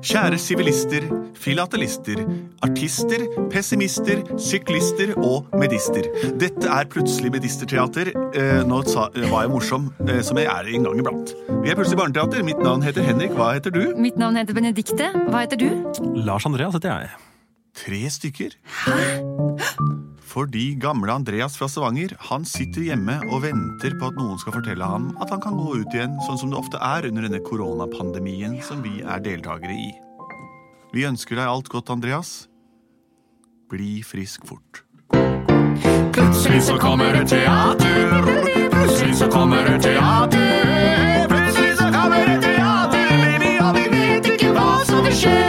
Kjære sivilister, filatelister, artister, pessimister, syklister og medister. Dette er plutselig medisterteater. Eh, nå sa, var jeg morsom, eh, som jeg er en gang iblant. Vi er plutselig barneteater. Mitt navn heter Henrik. Hva heter du? Mitt navn heter Benedikte. Hva heter du? Lars Andreas heter jeg. Tre stykker. Fordi gamle Andreas fra Stavanger han sitter hjemme og venter på at noen skal fortelle ham at han kan gå ut igjen, sånn som det ofte er under denne koronapandemien som vi er deltakere i. Vi ønsker deg alt godt, Andreas. Bli frisk fort. Plutselig så kommer det teater. Plutselig så kommer det teater. Plutselig så kommer det teater, baby, og vi vet ikke hva som vil skje.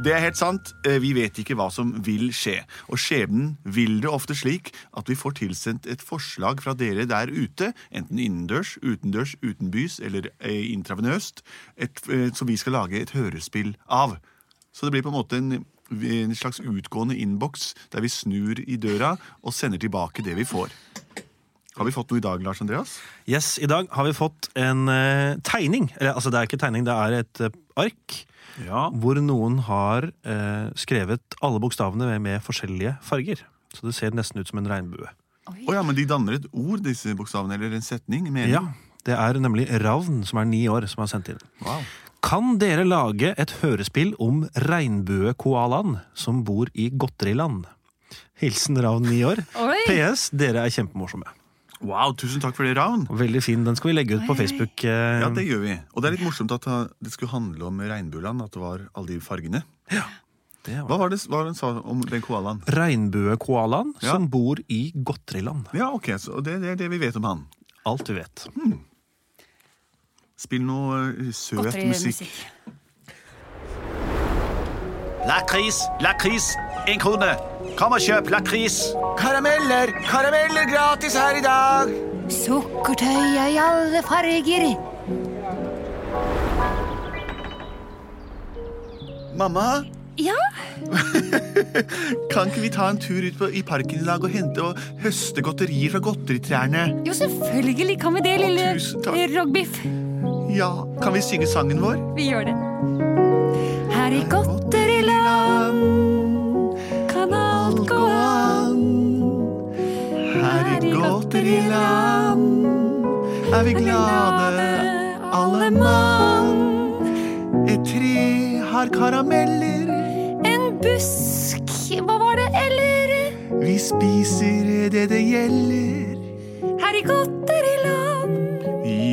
Det er helt sant. Eh, Vi vet ikke hva som vil skje. Og skjebnen vil det ofte slik at vi får tilsendt et forslag fra dere der ute, enten innendørs, utendørs, utenbys eller eh, intravenøst, et, eh, som vi skal lage et hørespill av. Så det blir på en måte en, en slags utgående innboks der vi snur i døra og sender tilbake det vi får. Har vi fått noe i dag, Lars Andreas? Yes, I dag har vi fått en eh, tegning. Eller, altså, det er ikke tegning, det er et eh, ark. Ja. Hvor noen har eh, skrevet alle bokstavene med, med forskjellige farger. Så det ser nesten ut som en regnbue. Å ja, men de danner et ord, disse bokstavene, eller en setning? Mener. Ja, Det er nemlig Ravn, som er ni år, som har sendt inn. Wow. Kan dere lage et hørespill om regnbuekoalaen som bor i Godteriland? Hilsen Ravn ni år. Oi. PS, dere er kjempemorsomme. wow, tusen takk for det, Ravn. Veldig fin. Den skal vi legge ut på Facebook. eh, Ja, det gjør vi. Og det er litt morsomt at uh, det skulle handle om regnbueland, at det var alle de fargene. det var- Hva var det hva var det hun sa om den koalaen? Regnbuekoalaen Ja. som bor i Godteriland. Ja, ok, så det, det er det vi vet om han. Alt du vet. Spill noe uh, søt musikk. musikk. Lakris, lakris, en krone. Kom og kjøp lakris. Karameller, karameller gratis her i dag. Sukkertøy i alle farger. Mamma, Ja, kan ikke vi ta en tur ut på, i parken i dag og hente og høste godterier fra godteritrærne? jo selvfølgelig kan vi det, lille tusen takk. rogbiff. Ja, kan vi synge sangen vår? Vi gjør det. Her i godteriland kan alt gå an. Her i godteriland er vi glade, alle mann. Et tre har karameller, En busk, hva var det, eller? vi spiser det det gjelder. Her i godteriland,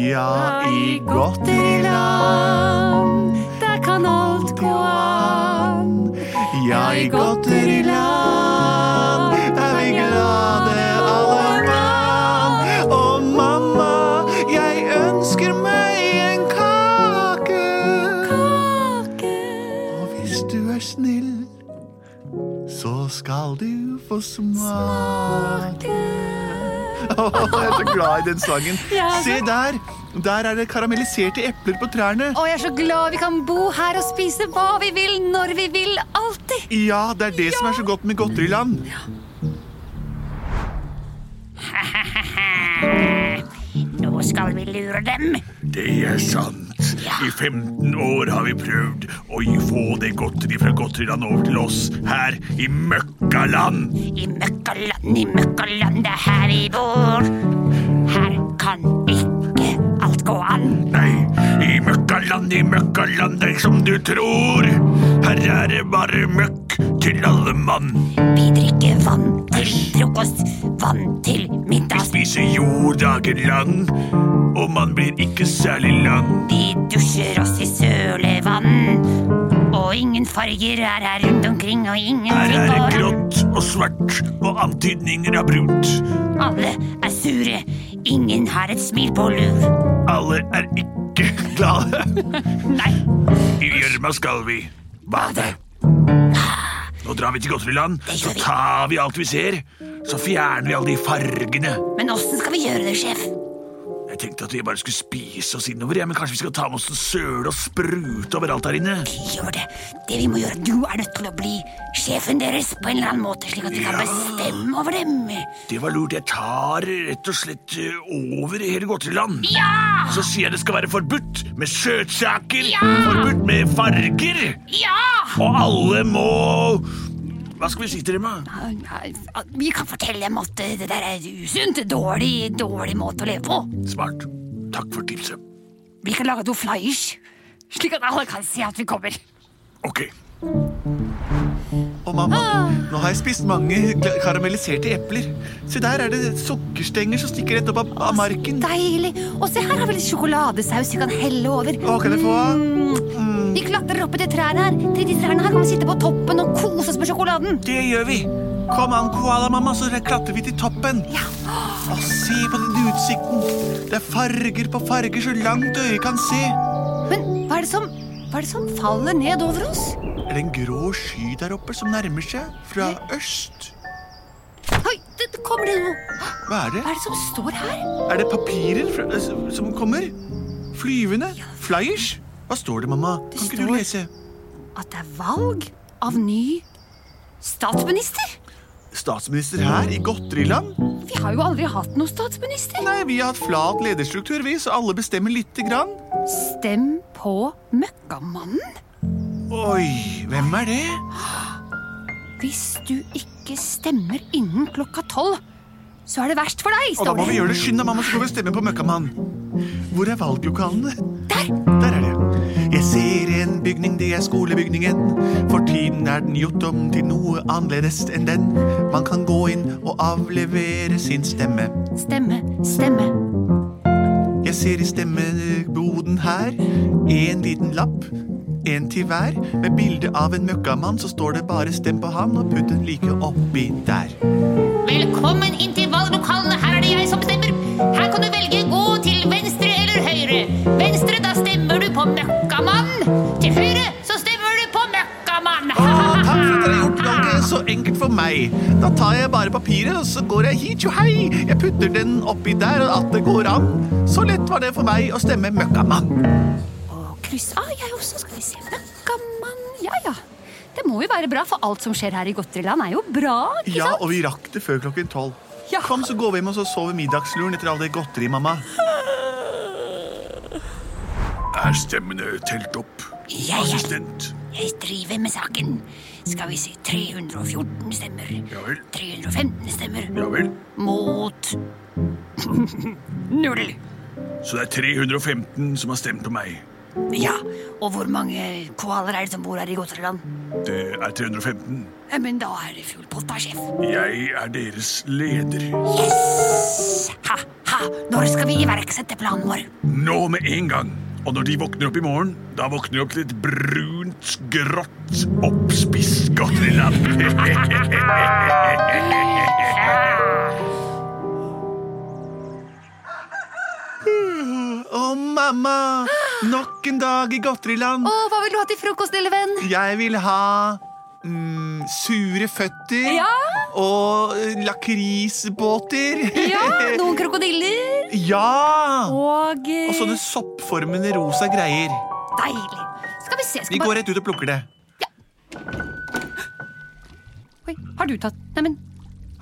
Ja, her i godteriland, der kan alt gå an. ja, i godteriland er vi glade, alle mann. Og mamma, jeg ønsker meg en kake. Kake. Og hvis du er snill, så skal du få smake. Åh, jeg er så glad i den sangen. Ja, Se der! Der er det karamelliserte epler på trærne. Og jeg er så glad vi kan bo her og spise hva vi vil, når vi vil, alltid. Ja, det er det som er så godt med godteriland. Nå skal vi lure dem. Det er sant. I 15 år har vi prøvd å gi- få det godteri fra godteriland over til oss her i møkkaland. I møkkaland, i møkkaland, det er her vi bor. Her kan ikke alt gå an. Nei, i møkkaland, i møkkaland, det er som du tror. Her er det bare møkk til alle mann. Vi drikker vann til frokost, vann til middag. Spiser jord dagen lang, og man blir ikke særlig lang. Vi dusjer oss i sølevann. Og ingen farger er her rundt omkring, Her og ingenting er det går an. grått og svart, og antydninger av brunt. Alle er sure, ingen har et smil på lur. Alle er ikke glade. Nei, I gjørma skal vi bade. Nå drar vi til godteriland, så tar vi alt vi ser. Så fjerner vi alle de fargene. men åssen skal vi gjøre det, sjef? Nei, Jeg tenkte at vi bare skulle spise oss innover, ja, men kanskje vi skal ta med oss en søle og sprute overalt her inne? Gjør det. Det vi må gjøre, Du er nødt til å bli sjefen deres på en eller annen måte, slik at vi kan Ja. bestemme over dem. Det var lurt. Jeg tar rett og slett eh, over i hele godteriland. Ja! Så sier jeg det skal være forbudt med søtsaker, Ja! forbudt med farger, Ja! og alle må Hva skal vi si til dem, da? Vi kan fortelle dem at eh, det der er usunt. Dårlig, dårlig måte å leve på. Smart. Takk for tipset. Vi kan lage noen flyers, slik at alle kan se at vi kommer. Ok. Å, mamma, nå har jeg spist mange gla- karamelliserte epler. Se, der er det sukkerstenger som stikker rett opp av, av marken. Deilig. Og se, her har vi litt sjokoladesaus vi kan helle over. Å, kan jeg få av? Mm. Vi klatrer opp i de trærne her. Til de trærne her kan vi sitte på toppen og kose oss med sjokoladen. Det gjør vi. Kom an, koala, mamma, så klatrer vi til toppen. Ja. Og se på den utsikten. Det er farger på farger så langt øyet kan se. Men hva er det som, hva er det som faller ned over oss? Er det en grå sky der oppe som nærmer seg fra øst? Oi, det, det kommer det noe. Hva er det? Hva er det som står her? Er det papirer fra, eh, s- som kommer? Flyvende? Flyers? Hva står det, mamma? Kan ikke du står- lese? At det er valg av ny statsminister? Statsminister her i godteriland? Vi har jo aldri hatt noen statsminister. Nei, vi har hatt flat lederstruktur, vi, så alle bestemmer lite grann. Stem på Møkkamannen. Oi, hvem er det? Hvis du ikke stemmer innen klokka tolv, så er det verst for deg, Og da står må vi det. gjøre det skynd deg, mamma, så går vi og stemmer på Møkkamann. Hvor er valglokalene? Der! Der er det. Jeg ser en bygning, det er skolebygningen. For tiden er den gjort om til noe annerledes enn den. Man kan gå inn og avlevere sin stemme. Stemme, stemme. Jeg ser i stemmeboden her en liten lapp. En til hver, med bilde av en møkkamann, så står det bare 'stem på han', og putt den like oppi der. Velkommen inn til valglokalene. Her er det jeg som bestemmer. Her kan du velge gå til venstre eller høyre. Venstre, da stemmer du på Møkkamann. Til høyre, så stemmer du på Møkkamann. Å, Ah, takk for at dere har gjort valget så enkelt for meg. Da tar jeg bare papiret, og så går jeg hit, jo hei. Jeg putter den oppi der, og at det går an. Så lett var det for meg å stemme møkkamann. Og kryss av, jeg også. Skal vi se. Møkkamann. Ja, ja. Det må jo være bra, for alt som skjer her i godteriland, er jo bra. ikke Ja, sant? og vi rakk det før klokken tolv. Ja. Kom, så går vi hjem og så sover middagsluren etter all det godteri, mamma. Er stemmene telt opp? Ja, ja. Assistent. Jeg driver med saken. Skal vi si 314 stemmer. Ja vel. 315 stemmer. Ja vel. Mot null. Så det er 315 som har stemt på meg. Ja, og hvor mange koaler er det som bor her i Godtreland? Det er 315. Ja, Men da er det full pott, da, sjef. Jeg er deres leder. Yes! Ha, ha! Når skal vi iverksette planen vår? Nå med en gang. Og når de våkner opp i morgen, da våkner de opp til et brunt, grått, oppspist godteriland. Å, mamma! Nok en dag i godteriland. Å, hva vil du ha til frokost, lille venn? Jeg vil ha mm, sure føtter Ja. og eh, lakrisbåter. Ja, Noen krokodiller Ja! og eh, Og sånne soppformende rosa greier. Deilig. Skal vi se. Skal Vi går rett ut og plukker det. Oi, har du tatt Neimen,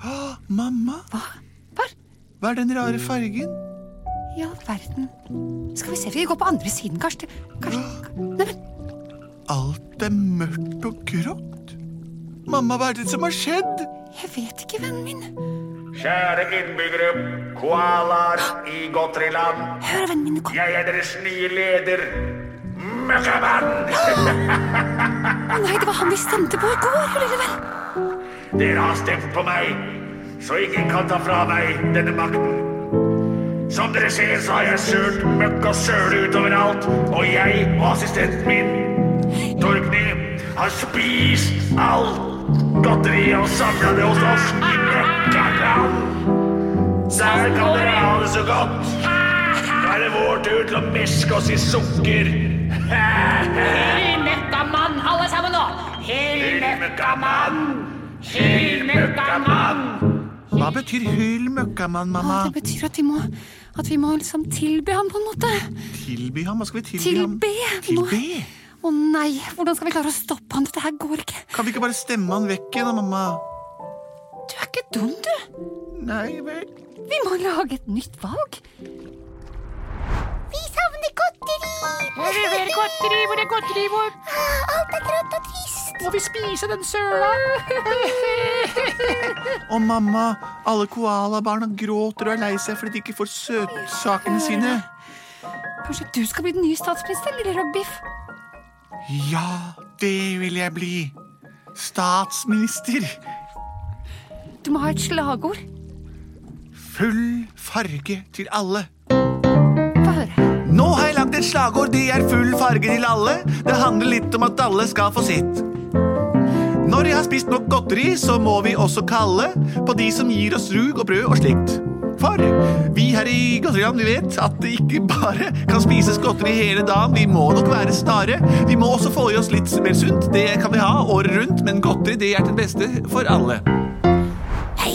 Å, Ah, Mamma, hva? hva er den rare fargen? I all verden. Skal vi se, vi går på andre siden, kanskje. kanskje. Neimen, Alt er mørkt og grått. Mamma, hva er det som har skjedd? jeg vet ikke, vennen min. Kjære innbyggere, koalaer i godteriland. Hør, vennen min, kom. Jeg er deres nye leder, Møkkamann. Å nei, det var han vi stemte på i går, lille venn. Dere har stemt på meg, så ingen kan ta fra meg denne makten. Som dere ser, så har jeg sølt møkk og søle utover alt, og jeg og assistenten min, Torgny, har spist alt godteriet og samla det hos oss i Møkkaland. Der kan dere ha det så godt. Nå er det vår tur til å meske oss i sukker. Hyll Møkkamann, alle sammen nå! Hyll Møkkamann! Hyl Møkkamann! Hva betyr hyl møkkamann, Å, mamma? det betyr at vi må At vi må liksom tilbe han på en måte. Tilby ham? Hva skal vi tilby ham? Tilbe! Nå- Tilbe? Å nei, hvordan skal vi klare å stoppe han? Dette her går ikke. Kan vi ikke bare stemme han vekk igjen, da, mamma? Du er ikke dum, du. Nei vel. Vi må lage et nytt valg. Vi savner godteri! Hvor er mer godteri? Hvor er godteri vårt? Ah, Alt er grått og trist. Må vi spise den søla? Og mamma, alle koalabarna gråter og er lei seg fordi de ikke får søtsakene sine. Kanskje du skal bli den nye statsministeren, lille Robbiff? Ja, det vil jeg bli. Statsminister. Du må ha et slagord. Full farge til alle. Få høre. Nå har jeg lagt et slagord, det er full farge til alle. Det handler litt om at alle skal få sitt. Når jeg har spist nok godteri, så må vi også kalle på de som gir oss rug og brød og slikt. For vi her i Godteriland vi vet at det ikke bare kan spises godteri hele dagen. Vi må nok være snare. Vi må også få i oss litt mer sunt. Det kan vi ha året rundt, men godteri det er til beste for alle. Hei,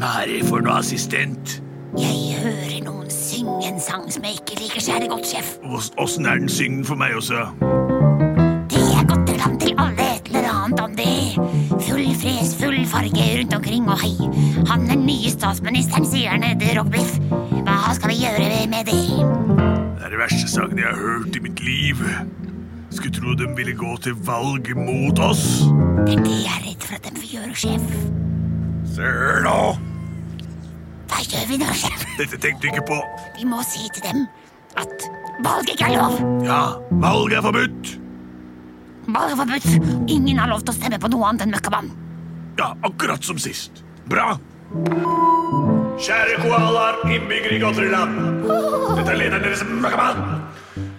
Nei, for noe assistent. jeg hører noen synge en sang som jeg ikke liker særlig godt, sjef. Åssen er den syngen for meg også? Det er godteriland til alle et eller annet om det. Full fres, full farge rundt omkring og hei. Han den nye statsministeren sier nede, Rockbiff. Hva skal vi gjøre med det? Det er de verste sangene jeg har hørt i mitt liv. Skulle tro de ville gå til valg mot oss. Det er det jeg er redd for at de får gjøre, sjef. Ser nå! Hva gjør vi nå, sjef? Dette tenkte jeg ikke på. Vi må si til dem at valg ikke er lov. Ja, valg er forbudt. Valg er forbudt. Ingen har lov til å stemme på noe annet enn møkkamann. Ja, akkurat som sist. Bra. Kjære koalaer, innbyggere i godteriland. Dette er lederen deres, Møkkamann.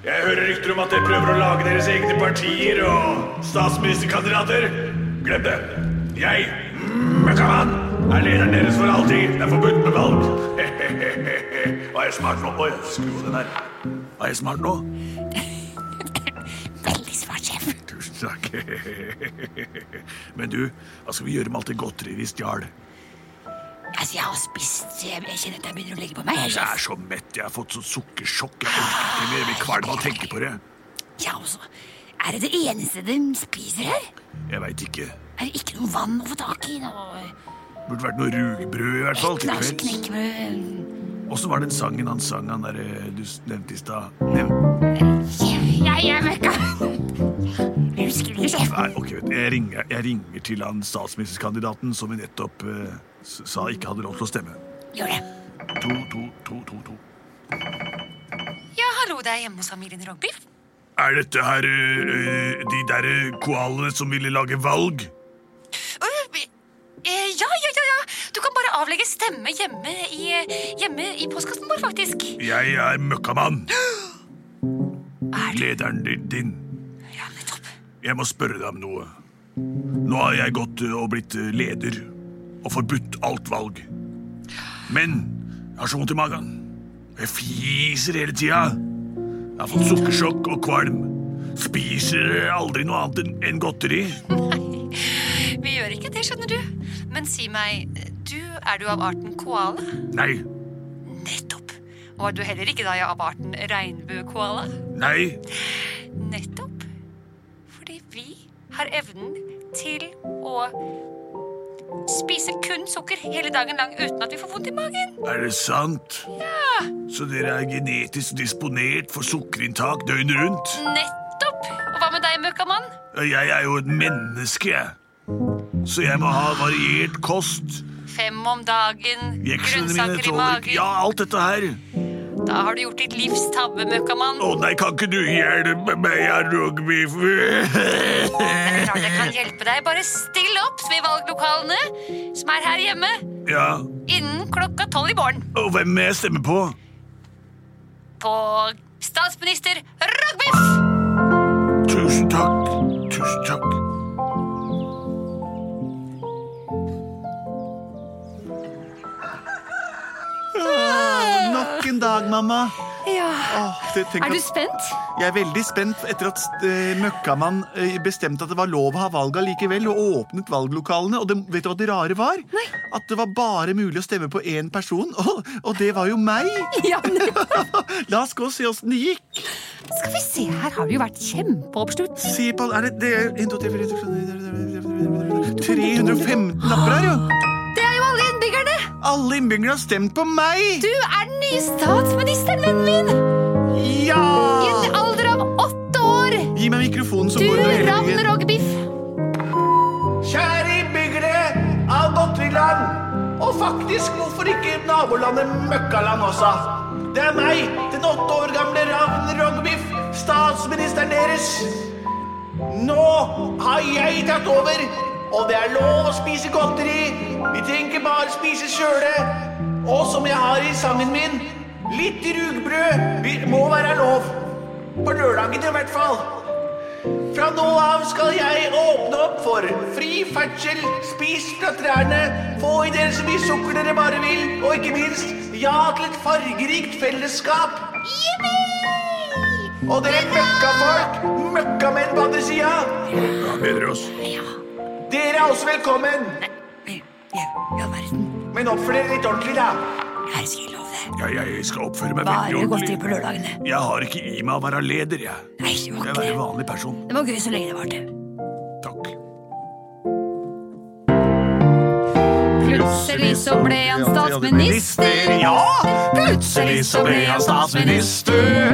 Jeg hører rykter om at dere prøver å lage deres egne partier og statsministerkandidater. Glem det. Jeg, Møkkamann, er lederen deres for alltid. Det er forbudt med valg. Var jeg smart nå? Oi, skru av den her. Var jeg smart nå? Veldig smart, sjef. Tusen takk. Men du, hva skal vi gjøre med alt det godteriet vi stjal? Altså, jeg har spist, så jeg, jeg kjenner at jeg begynner å legge på meg. Jeg Sjef. er så mett. Jeg har fått sånn sukkersjokk. Jeg orker ikke mer. Jeg blir kvalm av å tenke på det. Ja, også. Er det det eneste de spiser her? Jeg veit ikke. Er det ikke noe vann å få tak i? Noe Burde vært noe rugbrød i hvert fall. til knasj, kvelds. knekkebrød Åssen var den sangen han sang, han derre du s- nevnte i stad? Nev Jeg er møkkamann. Jeg Husker du, sjef? Nei, ok, vet du, jeg ringer, jeg ringer til han statsministerkandidaten som vi nettopp eh, s- sa ikke hadde lov til å stemme. Gjør det. To, to, to, to, to. Ja, hallo, det er hjemme hos familien Robbiff. Er dette her eh, eh, de derre koalene som ville lage valg? Øh, eh, Ja, ja, ja, ja. Du kan bare avlegge stemme hjemme i, hjemme i postkassen vår, faktisk. Jeg er møkkamann. Er du? Lederen di- din. Ja, nettopp. Jeg må spørre deg om noe. Nå har jeg gått eh, og blitt eh, leder og forbudt alt valg. Men jeg har så vondt i magen. Jeg fiser hele tida. Jeg har fått sukkersjokk og kvalm. Spiser aldri noe annet enn- enn godteri. Vi gjør ikke det, skjønner du. Men si meg, du er du av arten koala? Nei, Nettopp. Og er du heller ikke da av arten regnbuekoala? nei, Nettopp. Fordi vi har evnen til å spise kun sukker hele dagen lang uten at vi får vondt i magen. er det sant? Så dere er genetisk disponert for sukkerinntak døgnet rundt? Nettopp! Og hva med deg, møkkamann? Jeg er jo et menneske, jeg. Så jeg må ha variert kost. Fem om dagen, Jeksene mine grønnsaker i tåler ikke magen. Ja, alt dette her. Da har du gjort ditt livs tabbe, møkkamann. Å nei, kan ikke du hjelpe meg, jeg rugbeef? Klart jeg kan hjelpe deg. Bare still opp ved valglokalene som er her hjemme Ja, innen klokka tolv i morgen. og hvem må jeg stemme på? På statsminister Rogbiff! Tusen takk, tusen takk. Nok en dag, mamma. Ja, jeg tenker Er du at- spent? Jeg er veldig spent etter at eh, Møkkamann eh, bestemte at det var lov å ha valg allikevel, og åpnet valglokalene. Og det, vet du hva det rare var? Nei. At det var bare mulig å stemme på én person, og, og det var jo meg! Ja, men La oss gå og se åssen det gikk. skal vi se, her har det jo vært kjempeoppslutt. Se på er det, det er 1, 2, 3, 4, 5, 315 napper her, jo! Det er jo alle innbyggerne! Alle innbyggerne har stemt på meg! Du er den nye statsministeren, vennen min! I Ja! en alder av åtte år! Gi meg mikrofonen, så Du går det ravn igjen. rogbiff! Kjære innbyggere av Godtryland, og faktisk hvorfor ikke nabolandet Møkkaland også? Det er meg, den åtte år gamle Ravn Rogbiff, statsministeren deres. Nå har jeg tatt over, og det er lov å spise godteri. Vi trenger ikke bare spise sjøle. Og som jeg har i sangen min, litt rugbrød vi- må være lov. På lørdagene i hvert fall. Fra nå av skal jeg åpne opp for fri ferdsel, spis fra trærne, få i dere så mye sukker dere bare vil, og ikke minst ja til et fargerikt fellesskap. Og dere møkkafolk, møkkamenn på andre sida, Da bedrer oss. dere er også velkommen. Ja, ja verden. Men oppfør dere litt ordentlig, da. Her skal jeg love deg. Ja, jeg skal oppføre meg Bare veldig godteri på ordentlig. lørdagene. Jeg har ikke i meg å være leder, jeg. Nei, det var Jeg ikke er en det. vanlig person. Det var gøy så lenge det varte. Takk. Plutselig så ble han statsminister. Plutselig så ble han statsminister.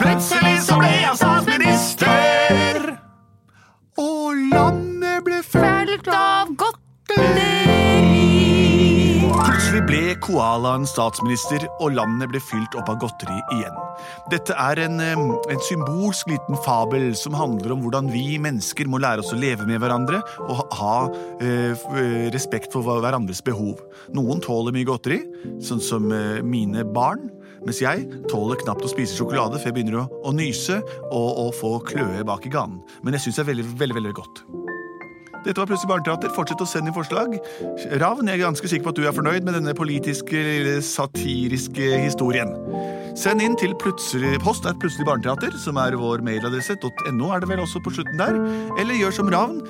Plutselig så ble han statsminister. Og landet ble Fullt av godteri. Plutselig ble koalaen statsminister, og landet ble fylt opp av godteri igjen. Dette er en, eh, en symbolsk liten fabel som handler om hvordan vi mennesker må lære oss å leve med hverandre og ha- ha eh, f- eh, respekt for hva- hverandres behov. Noen tåler mye godteri, sånn som eh, mine barn, mens jeg tåler knapt å spise sjokolade før jeg begynner å, å nyse og, og få kløe bak i ganen. Men jeg syns det er veldig, veldig, veldig godt. Dette var Plutselig barneteater. Fortsett å sende inn forslag. Ravn, jeg er ganske sikker på at du er fornøyd med denne politiske, lille satiriske historien. Send inn til plutselig, post er plutselig barneteater, som er vår mailadresse. .no er det vel også på slutten der. Eller gjør som Ravn.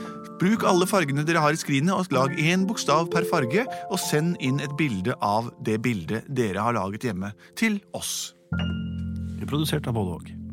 Bruk alle fargene dere har i skrinet, og lag én bokstav per farge. Og send inn et bilde av det bildet dere har laget hjemme, til oss. Produsert av både og.